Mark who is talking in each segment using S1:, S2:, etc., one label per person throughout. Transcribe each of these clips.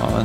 S1: Ja,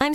S2: I'm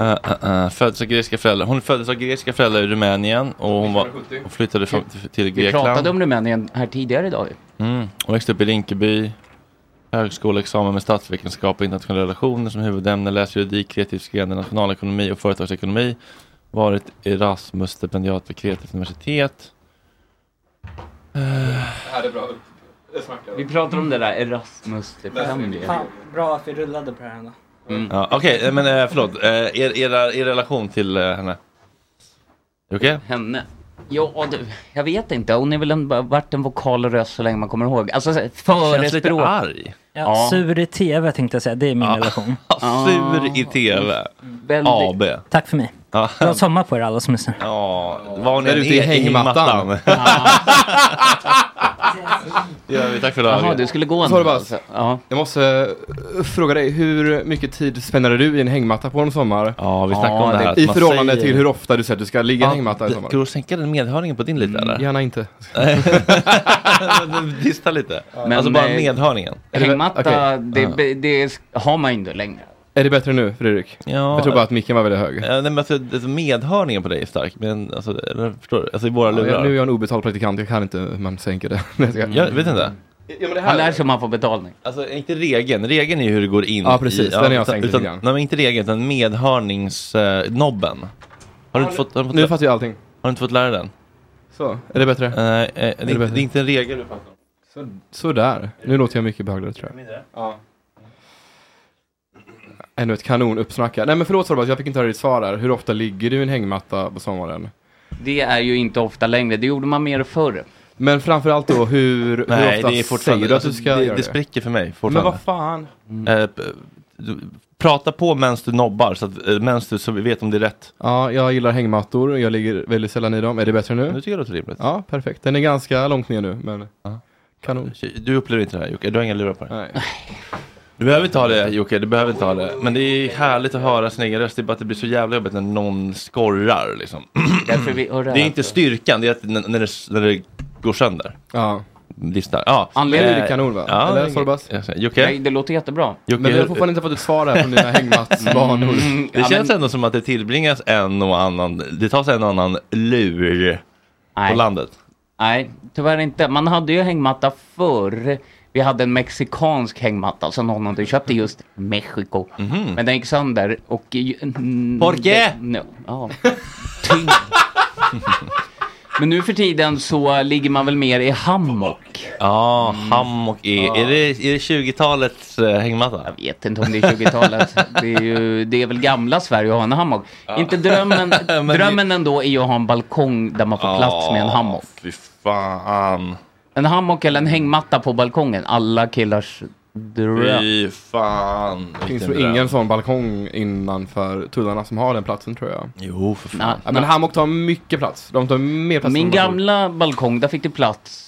S1: Uh, uh, uh, föddes av grekiska föräldrar. Hon föddes av grekiska föräldrar i Rumänien och hon, var, hon flyttade fram, till- till
S3: Vi pratade
S1: Grekland.
S3: om Rumänien här tidigare idag. ju.
S1: Mm. Hon växte upp i Rinkeby. Högskoleexamen med statsvetenskap och internationella relationer som huvudämne. Läst juridik, kreativ skrivande, nationalekonomi och företagsekonomi. Varit Erasmus-stipendiat vid Kreativt universitet.
S3: Vi pratade om det där Erasmus-stipendiet.
S4: bra att vi rullade på det här ändå.
S1: Ja, Okej, eh, men eh, förlåt. Eh, Er, era, er relation till eh, henne? Är det Okej?
S5: Henne? Ja du, jag vet inte. Hon är väl en, bara varit en vokal röst så länge man kommer ihåg. Alltså så här,
S1: Känns lite
S5: förespråk.
S1: arg.
S5: Ja.
S4: Sur i tv tänkte jag säga, det är min relation.
S1: Sur i tv.
S5: Väldigt-
S1: AB.
S4: Tack för mig.
S1: Ja.
S4: Bra sommar på er alla som lyssnar.
S1: Ja, var ni
S3: Där ute i hängmattan.
S1: Det gör vi, tack för
S5: Jaha,
S1: dagen.
S5: du skulle
S3: Så
S5: gå nu
S3: var det bara-
S5: alltså. Ja.
S3: Jag måste eh, fråga dig, hur mycket tid spenderar du i en hängmatta på en sommar?
S1: Ja, vi snackade
S5: Ja,
S1: om det
S5: det-
S1: här.
S3: I
S1: Man
S3: förhållande
S1: säger-
S3: till hur ofta du säger att du ska ligga i en
S1: Ja,
S3: hängmatta i
S1: d-
S3: sommar? Mm,
S1: Går det att sänka den medhörningen på din lite eller?
S3: Gärna inte.
S1: Dista lite.
S5: Men,
S1: alltså bara
S5: eh,
S1: medhörningen.
S3: det-
S5: Hängmatta,
S3: okej.
S5: det, det, har man ju inte längre.
S3: Är det bättre nu, Fredrik?
S1: Ja,
S3: Jag tror bara att micken var väldigt hög.
S1: Ja, nej, men alltså, alltså, medhörningen på dig är stark, men alltså, eller, förstår du? Alltså i våra
S3: Ja,
S1: lurar.
S3: jag, nu är jag en obetald praktikant, jag kan inte hur man sänker det. Nej, jag ska-
S1: Jag vet
S3: Ja,
S1: inte.
S3: men det
S5: Man Mm. lär
S3: här...
S5: sig om man får betalning.
S1: Alltså inte regeln, regeln är ju hur det går in.
S3: Ja, precis.
S1: i-
S3: Den har jag
S1: utan-
S3: sänkt lite
S1: utan-
S3: grann.
S1: Nej men inte regeln, utan medhörningsnobben. har, du inte fått, har, du
S3: Nu
S1: inte fått,
S3: fattar jag allting.
S1: har du inte fått lära dig den?
S3: Så, är det bättre?
S1: Nej, eh, det, är inte-
S3: bättre?
S1: det är inte en regel du pratar om.
S3: Så, sådär. Nu låter jag mycket behagligare tror jag.
S1: Mindre?
S3: Ja. Ännu ett kanonuppsnack här. Nej men förlåt Sorbas, jag fick inte höra ditt svar där. Hur ofta ligger du i en hängmatta på sommaren?
S5: Det är ju inte ofta längre. Det gjorde man mer förr.
S3: Men framförallt då, hur, hur
S1: Nej,
S3: ofta
S1: det är fortfarande...
S3: säger du att du ska
S1: det,
S3: göra det?
S1: det spricker för mig
S3: Men
S1: fortfarande.
S3: vad fan?
S1: Eh, p- du- Prata på medan du nobbar, så att eh, medan du så vi vet om det är rätt.
S3: Ja, jag gillar hängmattor. Jag ligger väldigt sällan i dem. Är det bättre
S1: Nu
S3: nu?
S1: tycker jag det låter rimligt.
S3: Ja, perfekt. Den är ganska långt ner nu, men
S1: Ja.
S3: kanon.
S1: Du upplever inte det här Jocke, du har inga lurar på dig.
S3: Nej.
S1: Du behöver inte ha det Jocke, du behöver inte ha det. Men det är härligt att höra sin egen röst, det är bara att det blir så jävla jobbigt när någon skorrar liksom.
S5: Därför vi hör
S1: Det är inte styrkan, det är att n- när det, när det går sönder.
S3: Ja.
S1: Listar. Ja. Eh,
S5: Anledningen-
S3: Det är kanon, va?
S1: Ja,
S3: Eller,
S1: det-
S3: Sorbas?
S1: jag säger,
S5: Nej,
S1: Jocke?
S5: det låter jättebra.
S1: Jocke
S3: Men vi har fortfarande inte fått ett svar här från dina hängmattsvanor.
S5: Mm,
S1: det känns ändå som att det tillbringas en och annan, det tas en och annan lur på
S5: Nej,
S1: landet.
S5: nej, tyvärr inte. Man hade ju hängmatta förr. Vi hade en mexikansk hängmatta som någon hade köpt i just Mexiko.
S1: Mhm.
S5: Men den gick sönder och... ju- mm,
S1: Porke!
S5: det- no, ja. Tyngd. Men nu för tiden så ligger man väl mer i hammock.
S1: Ja, hammock är, är det, är det 20-talets eh, hängmatta?
S5: Jag vet inte om det är 20-talet. Det är, ju, det är väl gamla Sverige att ha en hammock. Inte drömmen,
S1: Men
S5: drömmen ändå är ju att ha en balkong där man får plats med en
S1: Ja,
S5: hammock.
S1: Fy fan.
S5: En hammock eller en hängmatta på balkongen. Alla killars dröm.
S1: Fy fan.
S3: Det finns
S1: Vilken
S3: nog
S1: dröm.
S3: ingen sån balkong innanför tullarna som har den platsen tror jag.
S1: Jo, för fan.
S5: Na,
S3: Ja, men hammock tar mycket plats. De tar mer plats
S5: Min
S3: än balkong.
S5: gamla balkong, där fick det plats.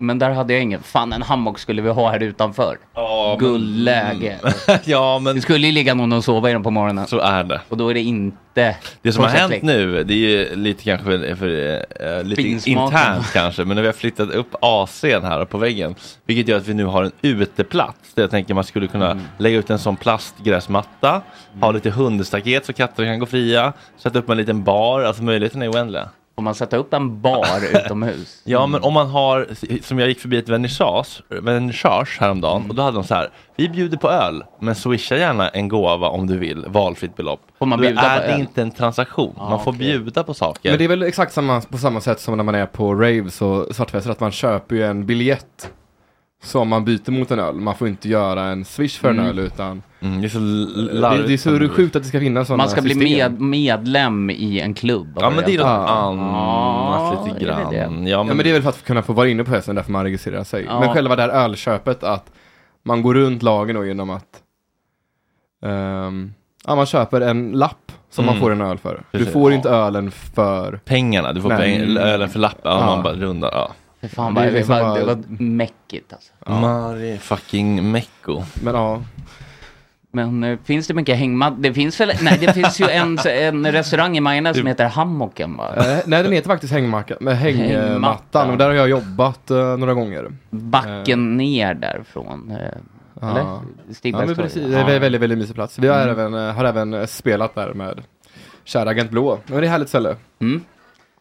S5: Men där hade jag ingen. Fan, en hammock skulle vi ha här utanför.
S1: Ja, men-
S5: Guldläge.
S1: ja, men
S5: Det skulle ju ligga någon och sova i den på morgonen.
S1: så är det.
S5: Och då är det inte...
S1: Det som har hänt
S5: konceptligt.
S1: nu, det är ju lite kanske för, eh, lite
S5: Finsmaken.
S1: internt kanske, men när vi har flyttat upp AC'n här på väggen, vilket gör att vi nu har en uteplats där jag tänker man skulle kunna
S5: Mm.
S1: lägga ut en sån plastgräsmatta, ha lite hundstaket så katter kan gå fria, sätta upp en liten bar, alltså möjligheterna är oändliga.
S5: Får man sätta upp en bar utomhus?
S1: Ja, men om man har, som jag gick förbi ett vernissage, vernissage häromdagen
S5: Mm.
S1: och då hade de så här, vi bjuder på öl, men swisha gärna en gåva om du vill, valfritt belopp.
S5: Får man
S1: då
S5: bjuda
S1: är
S5: på
S1: det
S5: öl? Ah,
S1: inte en transaktion, man får
S5: okej.
S1: bjuda på saker.
S3: Men det är väl exakt samma, på samma sätt som när man är på raves och svartfester, att man köper ju en biljett som man byter mot en öl. Man får inte göra en swish för en öl utan
S1: Mm, det är så
S3: det,
S1: larvigt.
S3: det är så sjukt att det ska finnas sådana
S5: Man ska bli
S3: system.
S5: med, medlem i en klubb.
S1: Ja men det är något
S3: Ja.
S1: annat
S5: Ja,
S1: lite
S5: det är väl
S1: grann.
S5: det.
S1: Ja,
S3: Ja men det är väl för att kunna få vara inne på festen, därför man registrerar sig.
S5: Ja.
S3: Men själva det här ölköpet, att man går runt lagen då genom att ehm, ja, man köper en lapp som man
S1: Mm.
S3: får en öl för. Du
S1: Precis.
S3: får inte ölen för
S1: pengarna, du får
S3: Nej.
S1: peng- ölen för lappen,
S3: Ja.
S1: ja. man bara rundar. Ja.
S5: Fy fan,
S3: Det
S5: det,
S3: är
S5: det,
S3: liksom
S5: var,
S3: bara-
S5: det var mäckigt alltså.
S1: Mari fucking Mecko.
S3: Men ja,
S5: Men eh, finns det mycket hängmatta? Det finns väl, nej det finns ju en, en restaurang i Majorna som heter Hammocken va?
S3: eh, nej den heter faktiskt hängmacka, med hängmattan
S5: Hängmattan.
S3: och där har jag jobbat eh, några gånger. Eh.
S5: Backen ner därifrån. eh, Eller?
S3: Ja. Ja men precis, det är en
S5: Ja. Mm.
S3: väldigt, väldigt, väldigt mysig plats. Vi har, även, eh, har även eh, spelat där med kära Agent Blå. Men det är ett härligt ställe.
S5: Mm.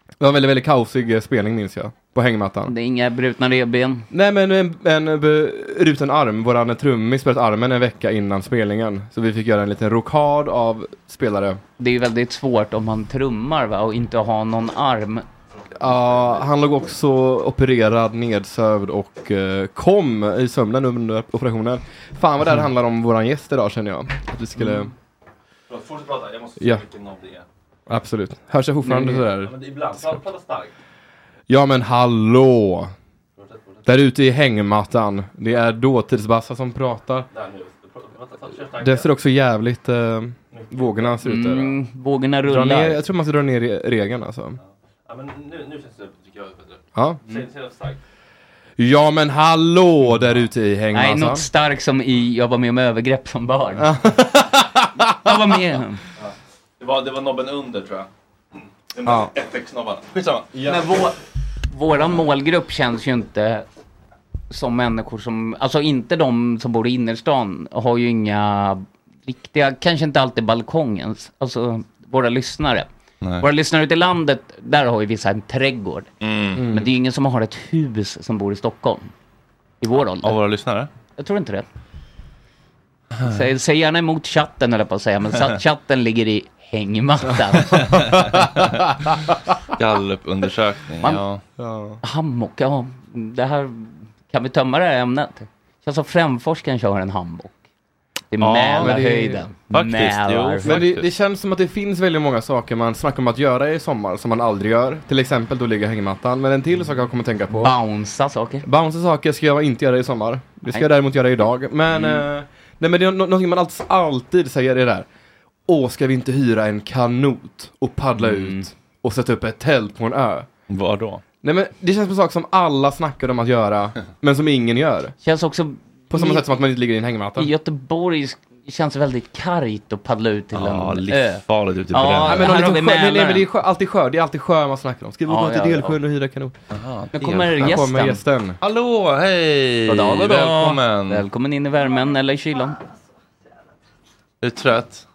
S3: Det var en väldigt, väldigt kaosig eh, spelning minns jag, på hängmattan.
S5: Det är inga brutna revben.
S3: Nej men en, en bruten arm, våran trummis bröt armen en vecka innan spelningen. Så vi fick göra en liten rokad av spelare.
S5: Det är ju väldigt svårt om man trummar va och inte har någon arm.
S3: Ja, han låg också opererad, nedsövd och eh, kom i sömnen under operationen. Fan vad det här handlar om våran gäst idag känner jag. Att vi skulle...
S1: Förlåt, fortsätt prata. Jag måste
S3: Ja.
S1: se vilken av det är.
S3: Absolut. Hörs jag fortfarande sådär?
S1: men ibland, prata starkt.
S3: Ja men hallå! Där ute i hängmattan. Det är dåtidsbassa som pratar.
S1: Där nu. Prata, ta, kör
S3: Det ser också jävligt... Eh, vågorna ser ut där.
S5: Mm, vågorna
S3: Dra ner,
S5: rullar.
S3: jag tror man ska dra ner re- regeln alltså.
S1: Ja, men nu, nu känns det, tycker jag, bättre.
S3: Ja.
S1: Säg, säg något starkt.
S3: ja men hallå Alltså. där ute i
S5: Nej,
S3: hängmattan.
S5: något starkt som i, jag var med om övergrepp som barn. jag var med om.
S1: Det var, det var nobben under, tror jag. Den
S3: Ja.
S1: ja. FX-nobbarna. Skitsamma.
S5: Men vår, våran målgrupp känns ju inte som människor som, alltså inte de som bor i innerstan har ju inga riktiga, kanske inte alltid balkongens, alltså våra lyssnare. Våra lyssnare ute i landet, där har ju vissa en trädgård. Men det är ju ingen som har ett hus som bor i Stockholm. I vår ålder.
S1: Av våra lyssnare?
S5: Jag tror inte det. Säg, säg gärna emot chatten eller på att säga, men sa- chatten ligger i hängmattan.
S1: Gallupundersökning,
S5: Man-
S1: ja.
S3: Ja.
S5: Hammock, ja. Det här, kan vi tömma det här ämnet? Känns som Främforskaren kör en hammock. Det är
S3: Ja, men det är-
S5: Mälarhöjden.
S1: Faktiskt,
S5: Mälar.
S1: jo.
S3: Men det, det känns som att det finns väldigt många saker man snackar om att göra i sommar som man aldrig gör. Till exempel då ligga i hängmattan. Men en till sak jag kommer att tänka på.
S5: Bounca saker.
S3: Bouncy saker ska jag inte göra i sommar. Det ska
S5: Nej.
S3: jag däremot göra idag. Men, eh, nej, men det är nå- någonting man alltid, alltid säger är det där. Åh, ska vi inte hyra en kanot och paddla ut och sätta upp ett tält på en ö?
S1: Var då?
S3: Nej men det känns som en sak som alla snackar om att göra, men som ingen gör.
S5: Känns också...
S3: På samma
S5: i,
S3: sätt som att man inte ligger i en
S5: I
S3: hängmatta.
S5: Göteborg sk- känns det väldigt kargt att paddla ut till
S1: Ja,
S5: en ö.
S1: livsfarligt ute i
S5: Ja,
S3: Nej, men,
S1: brännan.
S5: Här
S3: om
S5: har
S3: det
S5: vi
S3: är sjö, nej, nej, men det är
S5: Mälaren.
S3: sjö, alltid sjö, det är alltid sjö man snackar om. Ska vi
S5: Ja,
S3: gå till
S5: ja,
S3: Delsjön och hyra kanot?
S5: Nu kommer
S3: Här kommer
S5: gästen.
S3: gästen.
S1: Hallå, hej!
S5: God dag, god dag.
S1: Välkommen!
S5: Välkommen in i värmen eller i kylan.
S1: Är du trött?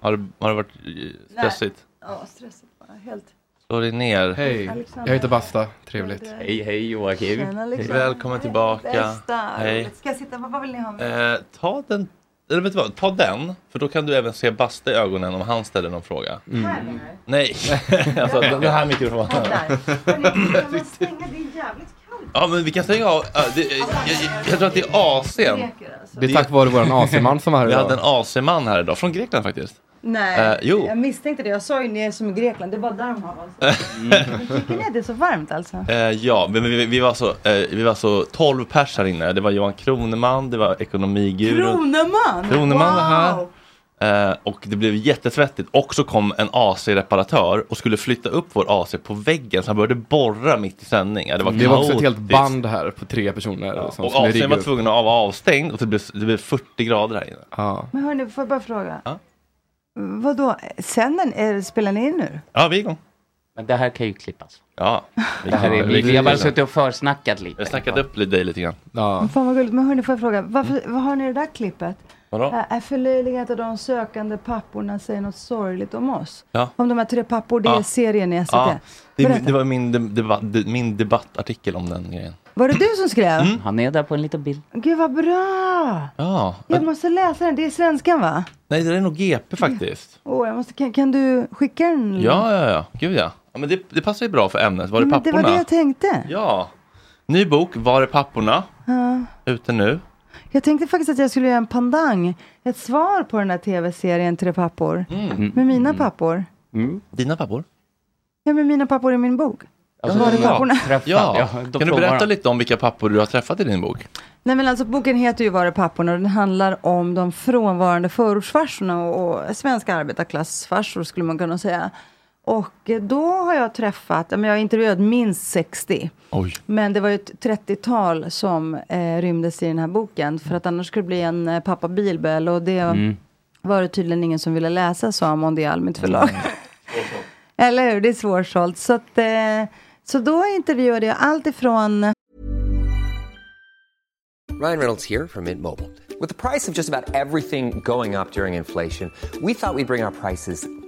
S1: Har, du- har det varit eh, stressigt?
S6: Ja, stressigt bara. Helt.
S1: Slå dig ner.
S3: Hej, jag heter Basta. Trevligt.
S5: Hej, hej Joakim.
S6: Tjena, liksom.
S1: Välkommen tillbaka.
S6: Bästa.
S1: Hej.
S6: Ska jag sitta? Vad vad vill ni ha med?
S1: Eh, ta den, eller vet du vad, ta den, för då kan du även se Basta i ögonen om han ställer någon fråga.
S6: Mm. Här menar
S1: Nej, alltså den den här mikrofonen.
S6: du? Där. Hörni, Kan man stänga? Det är jävligt kallt.
S1: Ja men vi kan stänga av, Ja, det, jag, jag, jag tror att det är AC'n.
S6: Leker, alltså.
S3: Det är tack vare våran AC-man som var här
S1: Vi hade
S3: idag.
S1: en AC-man här idag, från Grekland faktiskt.
S6: Nej,
S1: eh, jo.
S6: jag misstänkte det. Jag sa ju ni är som i Grekland. Det är bara där de har oss.
S1: Mm.
S6: Men Tycker ni att det är så varmt alltså?
S1: Eh, ja, men vi, vi, var så, eh, vi var så 12 pers här inne. Det var Johan Kroneman, det var ekonomigurun.
S6: Kroneman!
S1: Kroneman var här.
S6: Wow!
S1: Eh, och det blev jättetvättigt. Och så kom en AC-reparatör och skulle flytta upp vår AC på väggen. Så han började borra mitt i sändning. Ja, Det var,
S3: Det var också ett helt
S1: kaotiskt.
S3: band här på tre personer. som
S1: Och
S3: skulle rigga
S1: AC'n var
S3: upp.
S1: tvungen att vara avstängd och det blev, det blev 40 grader här inne.
S3: Ja.
S6: Men hörni, får jag bara fråga?
S1: Ja.
S6: Vadå? Sänder är, spelar ni in nu?
S1: Ja, vi är igång.
S5: Men det här kan ju klippas.
S1: Ja, vi
S5: Det här är,
S1: kan,
S5: vi,
S1: vi,
S5: vi har bara
S1: vi,
S5: suttit och försnackat lite.
S1: jag snackade upp dig lite grann.
S3: Ja.
S6: Fan vad gulligt. Men hörni, får jag fråga? Varför, Vad har ni i det där klippet?
S1: Vadå?
S6: Äh, Är förlöjligat att de sökande papporna säger något sorgligt om oss?
S1: Ja.
S6: Om de här tre pappor, det
S1: Ja.
S6: är serien i SVT.
S1: Ja, det,
S6: Berätta.
S1: det var min, debatt, min debattartikel om den grejen.
S6: Var det du som skrev?
S1: Mm.
S5: Han är där på en liten bild.
S6: Gud vad bra!
S1: Ja,
S6: Jag måste läsa den, det är svenskan va?
S1: nej det är nog GP
S6: Mm.
S1: faktiskt.
S6: Åh, jag måste, kan, kan du skicka den?
S1: Ja, ja, ja. Gud ja. ja men det, det passar ju bra för ämnet. Var är
S6: Men Mm, det
S1: papporna?
S6: var det jag tänkte.
S1: Ja. Ny bok, Var är papporna?
S6: Ja.
S1: Ute nu.
S6: Jag tänkte faktiskt att jag skulle göra en pandang, ett svar på den här tv-serien Tre pappor.
S1: Mm.
S6: Med mina pappor.
S1: Dina pappor?
S6: Ja, med mina pappor i min bok.
S5: Alltså,
S6: var är
S5: de-
S6: papporna?
S5: träffar-
S1: Ja.
S5: ja, de
S1: kan du
S5: frågar
S1: berätta
S5: dem.
S1: lite om vilka pappor du har träffat i din bok?
S6: Nej men alltså boken heter ju Var är papporna och den handlar om de frånvarande förortsfarsorna och, och svenska arbetarklassfarsor skulle man kunna säga. Och eh, då har jag träffat, ja, men jag har intervjuat minst 60.
S1: Oj.
S6: Men det var ju ett 30-tal som eh, rymdes i den här boken. För att annars skulle det bli en eh, pappa Bilbel och det var det tydligen ingen som ville läsa sa Mondial, mitt förlag. Eller hur, det är svårsålt. Så, att, eh, så då intervjuade jag allt ifrån
S7: Ryan Reynolds here from Mint Mobile. With the price of just about everything going up during inflation, we thought we'd bring our prices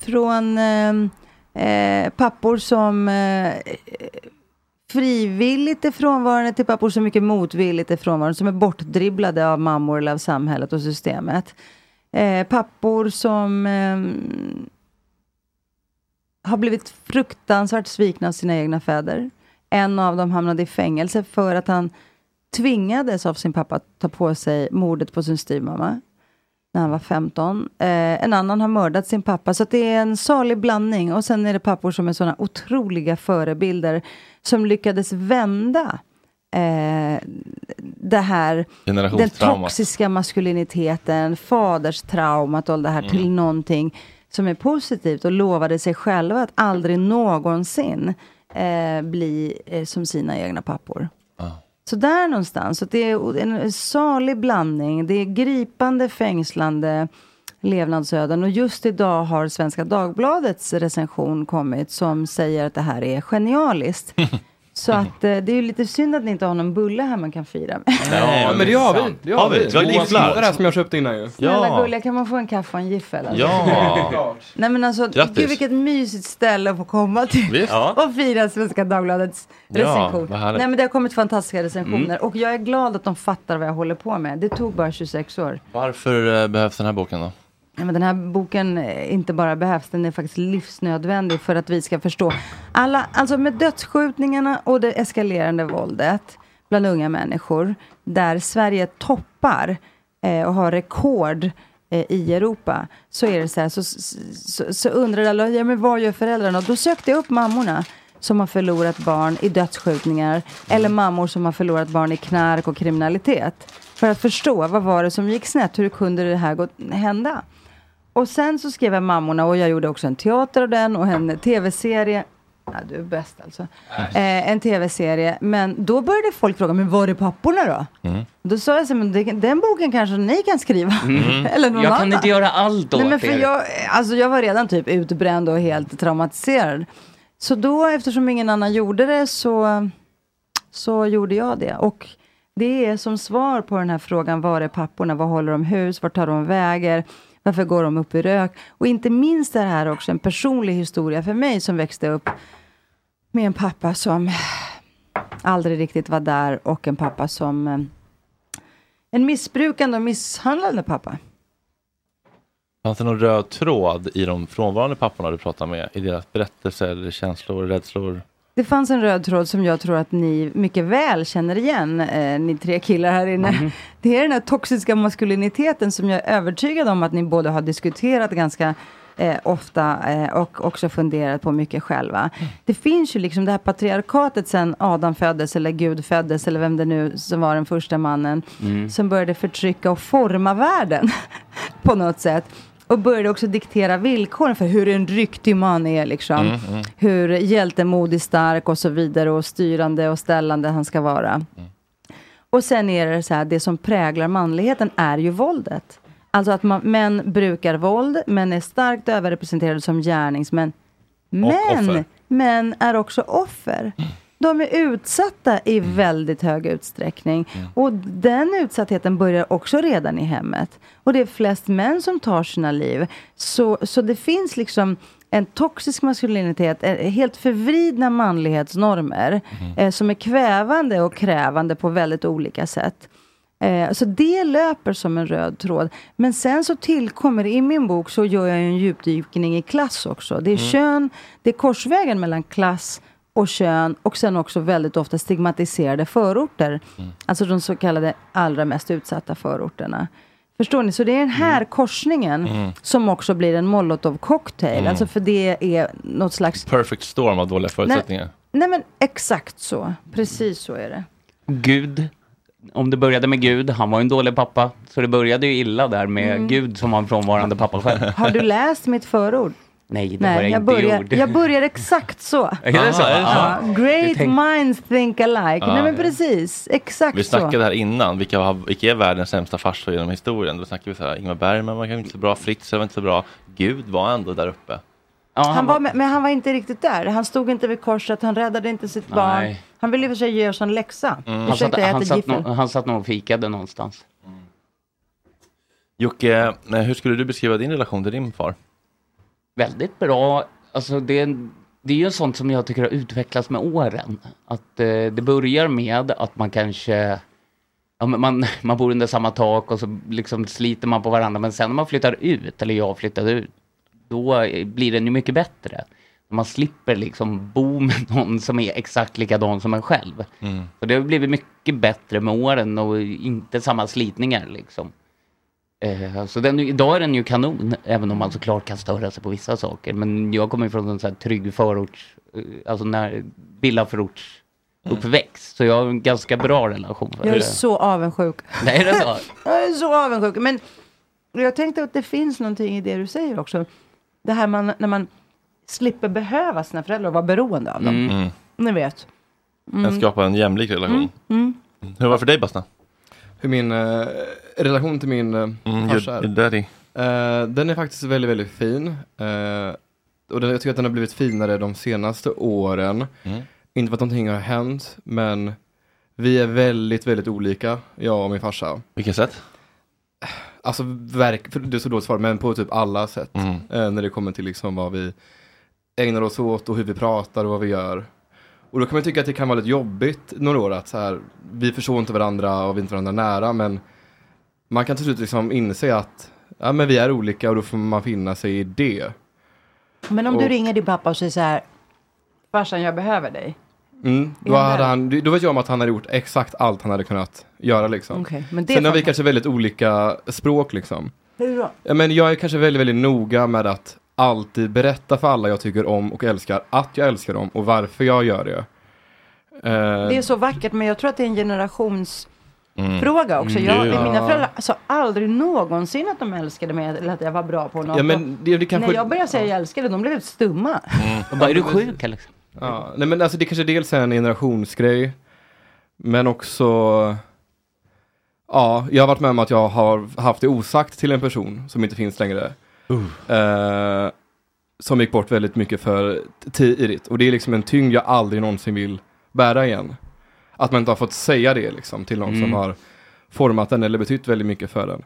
S6: Från eh, eh, pappor som eh, frivilligt är frånvarande till pappor som mycket motvilligt är frånvarande. Som är bortdribblade av mammor eller av samhället och systemet. Eh, pappor som eh, har blivit fruktansvärt svikna av sina egna fäder. En av dem hamnade i fängelse för att han tvingades av sin pappa att ta på sig mordet på sin styvmamma när han var 15. Eh, en annan har mördat sin pappa, så att det är en salig blandning. Och sen är det pappor som är såna otroliga förebilder som lyckades vända eh, det här, den
S1: Generationstraumat.
S6: toxiska maskuliniteten, faderstraumat och allt det här till
S1: Mm.
S6: någonting som är positivt och lovade sig själva att aldrig någonsin eh, bli eh, som sina egna pappor. Så där någonstans. Så att det är en salig blandning. Det är gripande, fängslande levnadsöden. Och just idag har Svenska Dagbladets recension kommit som säger att det här är genialiskt. Så att eh, det är ju lite synd att ni inte har någon bulle här man kan fira med.
S3: Ja, men det har vi. Det har vi.
S1: Jag
S3: Två
S1: gisslar.
S3: små där som jag köpte innan ju.
S6: Snälla gulliga, kan man få en kaffe och en giffel? alltså?
S1: Ja.
S6: Nej men alltså,
S1: Grattis.
S6: gud vilket mysigt ställe att få komma till
S1: Visst. Ja.
S6: och fira Svenska Dagbladets
S1: Ja,
S6: recension.
S1: vad härligt.
S6: Nej men det har kommit fantastiska recensioner
S1: Mm.
S6: och jag är glad att de fattar vad jag håller på med. Det tog bara 26 år.
S1: Varför eh, behövs den här boken då?
S6: Ja, men den här boken eh, inte bara behövs, den är faktiskt livsnödvändig för att vi ska förstå. Alla, alltså med dödsskjutningarna och det eskalerande våldet bland unga människor, där Sverige toppar eh, och har rekord eh, i Europa, så är det så här, så, så, så undrar alla, ja, men vad gör föräldrarna? Och Då sökte jag upp mammorna som har förlorat barn i dödsskjutningar eller mammor som har förlorat barn i knark och kriminalitet. För att förstå, vad var det som gick snett? Hur kunde det här gå, hända? Och sen så skrev jag mammorna och jag gjorde också en teater av den och en tv-serie. Ja, du är bäst alltså. Eh, en tv-serie. Men då började folk fråga, men var är papporna då? Då sa jag så här, men det, den boken kanske ni kan skriva.
S5: Mm.
S6: Eller någon
S5: jag
S6: annan.
S5: kan inte göra allt åt
S6: Nej, men för
S5: er.
S6: jag, alltså jag var redan typ utbränd och helt traumatiserad. Så då, eftersom ingen annan gjorde det, så, så gjorde jag det. Och det är som svar på den här frågan, var är papporna, vad håller de hus, vart tar de väger, varför går de upp i rök? Och inte minst är det här också en personlig historia för mig som växte upp med en pappa som aldrig riktigt var där och en pappa som eh, en missbrukande och misshandlande pappa.
S1: Fanns det någon röd tråd i de frånvarande papporna du pratade med? I deras berättelser, eller känslor, rädslor?
S6: Det fanns en röd tråd som jag tror att ni mycket väl känner igen, eh, ni tre killar här inne.
S3: Mhm.
S6: Det är den här toxiska maskuliniteten som jag är övertygad om att ni både har diskuterat ganska eh, ofta eh, och också funderat på mycket själva. Det finns ju liksom det här patriarkatet sen Adam föddes eller Gud föddes eller vem det nu som var den första mannen
S8: Mm.
S6: som började förtrycka och forma världen på något sätt. Och började också diktera villkoren för hur en riktig man är liksom
S8: Mm, mm.
S6: hur hjältemodig, stark och så vidare och styrande och ställande han ska
S1: Mm.
S6: vara. Och sen är det så här, det som präglar manligheten är ju våldet. Alltså att man, män brukar våld, men är starkt överrepresenterade som gärningsmän. Men,
S8: offer.
S6: män är också offer. De är utsatta i väldigt hög utsträckning. Och den utsattheten börjar också redan i hemmet. Och det är flest män som tar sina liv. Så, så det finns liksom en toxisk maskulinitet, eh, helt förvridna manlighetsnormer eh, som är kvävande och krävande på väldigt olika sätt. Eh, så det löper som en röd tråd. Men sen så tillkommer, i min bok så gör jag ju en djupdykning i klass också. Det är
S8: Mm.
S6: kön, det är korsvägen mellan klass och kön och sen också väldigt ofta stigmatiserade förorter. Alltså de så kallade allra mest utsatta förorterna. Förstår ni? Så det är den här korsningen
S1: Mm.
S6: som också blir en molotovcocktail.
S1: Mm.
S6: Alltså för det är något slags...
S1: Perfect storm av dåliga förutsättningar.
S6: Nej men exakt så. Precis så är det.
S5: Gud. Om det började med Gud, han var ju en dålig pappa. Så det började ju illa där med
S6: Mm.
S5: Gud som var en frånvarande pappa själv.
S6: Har du läst mitt förord?
S5: Nej, det har
S6: Nej,
S5: jag,
S6: jag
S5: inte
S6: börjar,
S5: gjort.
S6: jag börjar exakt så.
S5: Är det så?
S6: Ja,
S5: Ja.
S6: Great
S5: Du tänkte-
S6: minds think alike.
S1: Ja.
S6: Nej men precis, exakt
S1: Vi snackade
S6: så.
S1: här innan, vilka, har, vilka är världens sämsta farsor genom historien? Då snackade vi så här, Ingmar Bergman var kanske inte så bra, Fritzl var inte så bra, Gud var ändå där uppe.
S6: Han var, men han var inte riktigt där. Han stod inte vid korset, han räddade inte sitt barn.
S5: Nej.
S6: Han ville i och för sig göra som läxa.
S5: Han, satt,
S6: Ursäkta, jag
S5: han,
S6: äter
S5: satt
S6: giffel.
S5: no, han satt nog och fikade någonstans.
S1: Jocke, eh, hur skulle du beskriva din relation till din far?
S5: Väldigt bra. Alltså det, är en- det är ju sånt som jag tycker har utvecklats med åren. Att eh, det börjar med att man kanske... Ja, men man, man bor under samma tak och så liksom sliter man på varandra. Men sen när man flyttar ut, eller jag flyttade ut, då eh, blir den ju mycket bättre. Man slipper liksom bo med någon som är exakt likadan som en själv.
S1: Mm.
S5: Så det har blivit mycket bättre med åren och inte samma slitningar liksom. Eh, så den, idag är den ju kanon, även om man såklart kan störa sig på vissa saker. Men jag kommer ju från en sån här trygg förorts, eh, alltså när, villaförorts
S3: Mm.
S5: uppväxt. Så jag har en ganska bra relation. för
S6: Jag är
S5: det.
S6: så avundsjuk.
S5: Nej, är det så?
S6: Jag är så avundsjuk. Men jag tänkte att det finns någonting i det du säger också. Det här man, när man slipper behöva sina föräldrar och vara beroende av dem.
S1: Mm.
S6: Ni vet.
S1: Den skapar en jämlik relation.
S6: Mm. Mm.
S1: Hur var det för dig Basta?
S3: Hur min eh, relation till min eh,
S1: Mm,
S3: farsa
S1: your-
S3: är.
S1: your daddy.
S3: Eh, den är faktiskt väldigt, väldigt fin. Eh, och den, jag tycker att den har blivit finare de senaste åren.
S1: Mm.
S3: Inte för att någonting har hänt, men vi är väldigt, väldigt olika, jag och min farsa.
S1: Vilket sätt?
S3: Alltså, verk, för det är så dåligt svar, men på typ alla sätt. Eh, när det kommer till liksom vad vi ägnar oss åt och hur vi pratar och vad vi gör. Och då kan man tycka att det kan vara lite jobbigt några år att så här, vi förstår inte varandra och vi är inte varandra nära, men man kan till slut liksom inse att ja, men vi är olika och då får man finna sig i det.
S6: Men om du
S3: Och-
S6: ringer din pappa och säger så här. Farsan, jag behöver dig.
S3: Mm. Då,
S6: Ja,
S3: hade
S6: väl.
S3: han, då vet jag om att han hade gjort exakt allt han hade kunnat göra. Liksom.
S6: Okej, men det är
S3: Sen har vi
S6: fantastiskt.
S3: kanske väldigt olika språk. Liksom.
S6: Det är bra.
S3: Ja, Men jag är kanske väldigt, väldigt noga med att alltid berätta för alla jag tycker om och älskar att jag älskar dem och varför jag gör det. Eh,
S6: Det är så vackert, men jag tror att det är en generationsfråga
S3: Mm.
S6: också.
S3: Mm.
S6: Jag,
S3: Ja.
S6: Mina föräldrar sa aldrig någonsin att de älskade mig eller att jag var bra på något.
S3: Ja, men det- det kanske-
S6: När jag började säga jag älskade, de blev helt stumma.
S5: Och bara, är du sjuk Alex?
S3: Ja, nej men alltså det kanske dels är en generationsgrej, men också Ja, jag har varit med om att jag har haft det osagt till en person som inte finns längre. Eh, som gick bort väldigt mycket för t- tidigt. Och det är liksom en tyngd jag aldrig någonsin vill bära igen. Att man inte har fått säga det liksom till någon som
S1: Mm.
S3: har format den eller betytt väldigt mycket för den.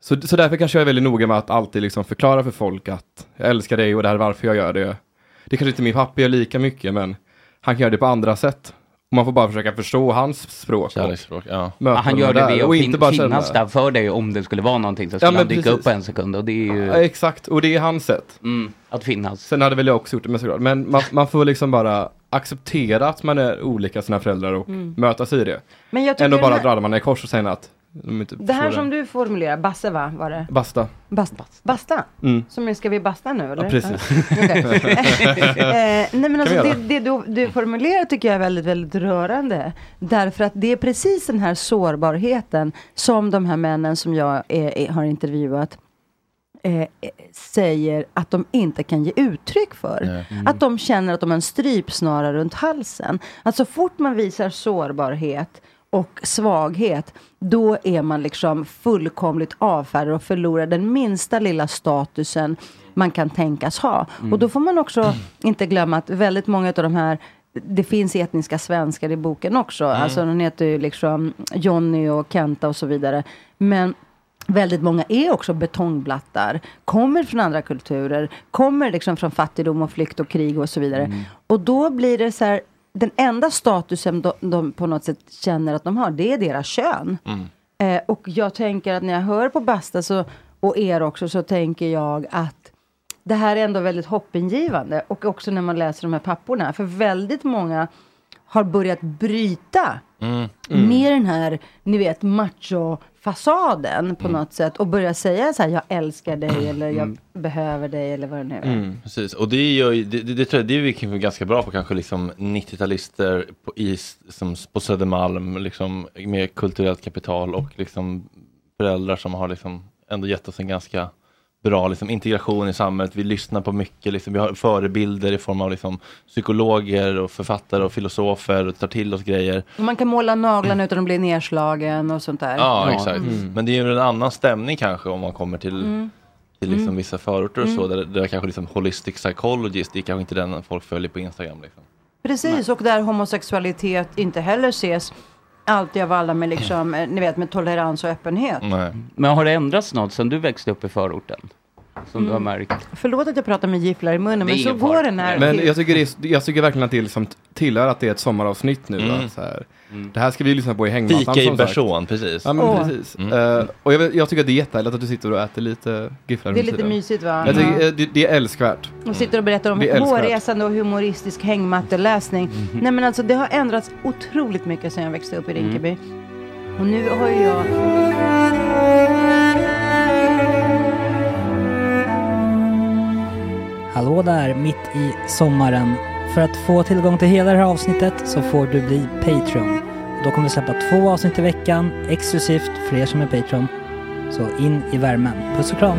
S3: Så, så därför kanske jag är väldigt noga med att alltid liksom förklara för folk att jag älskar dig och det här är varför jag gör det. Det kanske inte min pappa gör lika mycket men han kan göra det på andra sätt. Och man får bara försöka förstå hans språk.
S1: Kärleksspråk, ja.
S3: Möta
S5: han
S3: dem
S5: gör det
S3: där
S5: vid
S3: och
S5: att
S3: inte
S5: fin-
S3: bara
S5: finnas
S3: känna-
S5: där för dig om det skulle vara någonting. Så
S3: Ja,
S5: skulle
S3: men
S5: han dyka
S3: precis.
S5: upp på en sekund och det är ju...
S3: Ja, exakt, och det är hans sätt.
S5: Mm, att finnas.
S3: Sen hade väl jag också gjort det, men såklart. Men man, man får liksom bara acceptera att man är olika sina föräldrar och
S6: Mm.
S3: möta sig i det.
S6: Men jag tycker
S3: Ändå
S6: den
S3: bara
S6: här-
S3: dra man i kors och säga att de inte
S6: Det här
S3: förstår
S6: som du formulerar, Basse va? Var det?
S3: Basta.
S6: Basta. Basta?
S3: Mm.
S6: Som är, ska vi basta nu eller?
S3: Ja, precis.
S6: Okej. eh, nej men
S3: Kan
S6: alltså
S3: vi
S6: det,
S3: göra.
S6: det du, du formulerar tycker jag är väldigt, väldigt rörande. Därför att det är precis den här sårbarheten som de här männen som jag är, är, har intervjuat eh, eh, säger att de inte kan ge uttryck för. Att de känner att de har en strypsnara runt halsen. Att så fort man visar sårbarhet och svaghet, då är man liksom fullkomligt avfärdad och förlorar den minsta lilla statusen man kan tänkas ha.
S8: Mm.
S6: Och då får man också inte glömma att väldigt många av de här det finns etniska svenskar i boken också.
S8: Mm.
S6: Alltså de heter ju liksom Jonny och Kenta och så vidare. Men väldigt många är också betongblattar. Kommer från andra kulturer. Kommer liksom från fattigdom och flykt och krig och så vidare. Och då blir det så här. Den enda statusen de, de på något sätt känner att de har, det är deras kön. Eh, och jag tänker att när jag hör på Basta så, och er också så tänker jag att det här är ändå väldigt hoppingivande. Och också när man läser de här papporna. För väldigt många har börjat bryta
S8: Mm.
S6: med den här, ni vet, machofasaden på
S3: Mm.
S6: något sätt. Och börja säga så här, jag älskar dig eller jag
S1: Mm.
S6: behöver dig eller vad det nu är.
S1: Mm, precis, och det, gör ju, det, det, det, tror jag, det är vi kanske ganska bra på, kanske liksom 90-talister på, i, s- som, s- på Södermalm, liksom, med kulturellt kapital och liksom, föräldrar som har liksom, ändå gett oss en ganska bra liksom, integration i samhället. Vi lyssnar på mycket, liksom, vi har förebilder i form av liksom, psykologer och författare och filosofer och tar till oss grejer.
S6: Och man kan måla naglarna utan att bli nedslagen och sånt där.
S1: Ja, exakt.
S6: Mm.
S1: Men det är ju en annan stämning kanske om man kommer till,
S6: Mm.
S1: till liksom
S6: Mm.
S1: vissa förorter och så.
S6: Mm.
S1: Där, där kanske liksom holistic psychologist, det är kanske inte den folk följer på Instagram. Liksom.
S6: Precis, och där homosexualitet inte heller ses alltid av alla med,
S1: Mm.
S6: liksom, eh, ni vet, med tolerans och öppenhet.
S5: Men har det ändrats något sen du växte upp i förorten? Som du har
S6: Mm.
S5: märkt?
S6: Förlåt att jag pratar med gifflar i munnen,
S5: Det är
S6: men så
S5: ingen
S6: går
S5: fara.
S6: den här.
S3: Men jag tycker, det är, jag tycker verkligen att det liksom tillhör att det är ett sommaravsnitt nu.
S1: Mm.
S3: Att så här, Det här ska vi lyssna på i hängmattan.
S1: Fika i
S3: som sagt.
S1: person, precis.
S3: Ja, men
S1: Åh.
S3: precis. Eh, och jag, vet- jag tycker att det är jättehärligt att du sitter och äter lite gifflar
S6: Det är
S3: under
S6: lite
S3: tiden.
S6: mysigt, va?
S3: Jag tycker,
S6: Ja.
S3: eh, det, det är älskvärt.
S6: Och sitter och berättar om
S3: Det är älskvärt.
S6: hårresande och humoristisk hängmatteläsning. Nej men alltså det har ändrats otroligt mycket sedan jag växte upp i Rinkeby. Och nu har ju jag...
S4: Hallå där, mitt i sommaren. För att få tillgång till hela det här avsnittet så får du bli Patreon. Då kommer vi släppa två avsnitt i veckan, exklusivt för er som är Patreon. Så in i värmen. Puss och kram!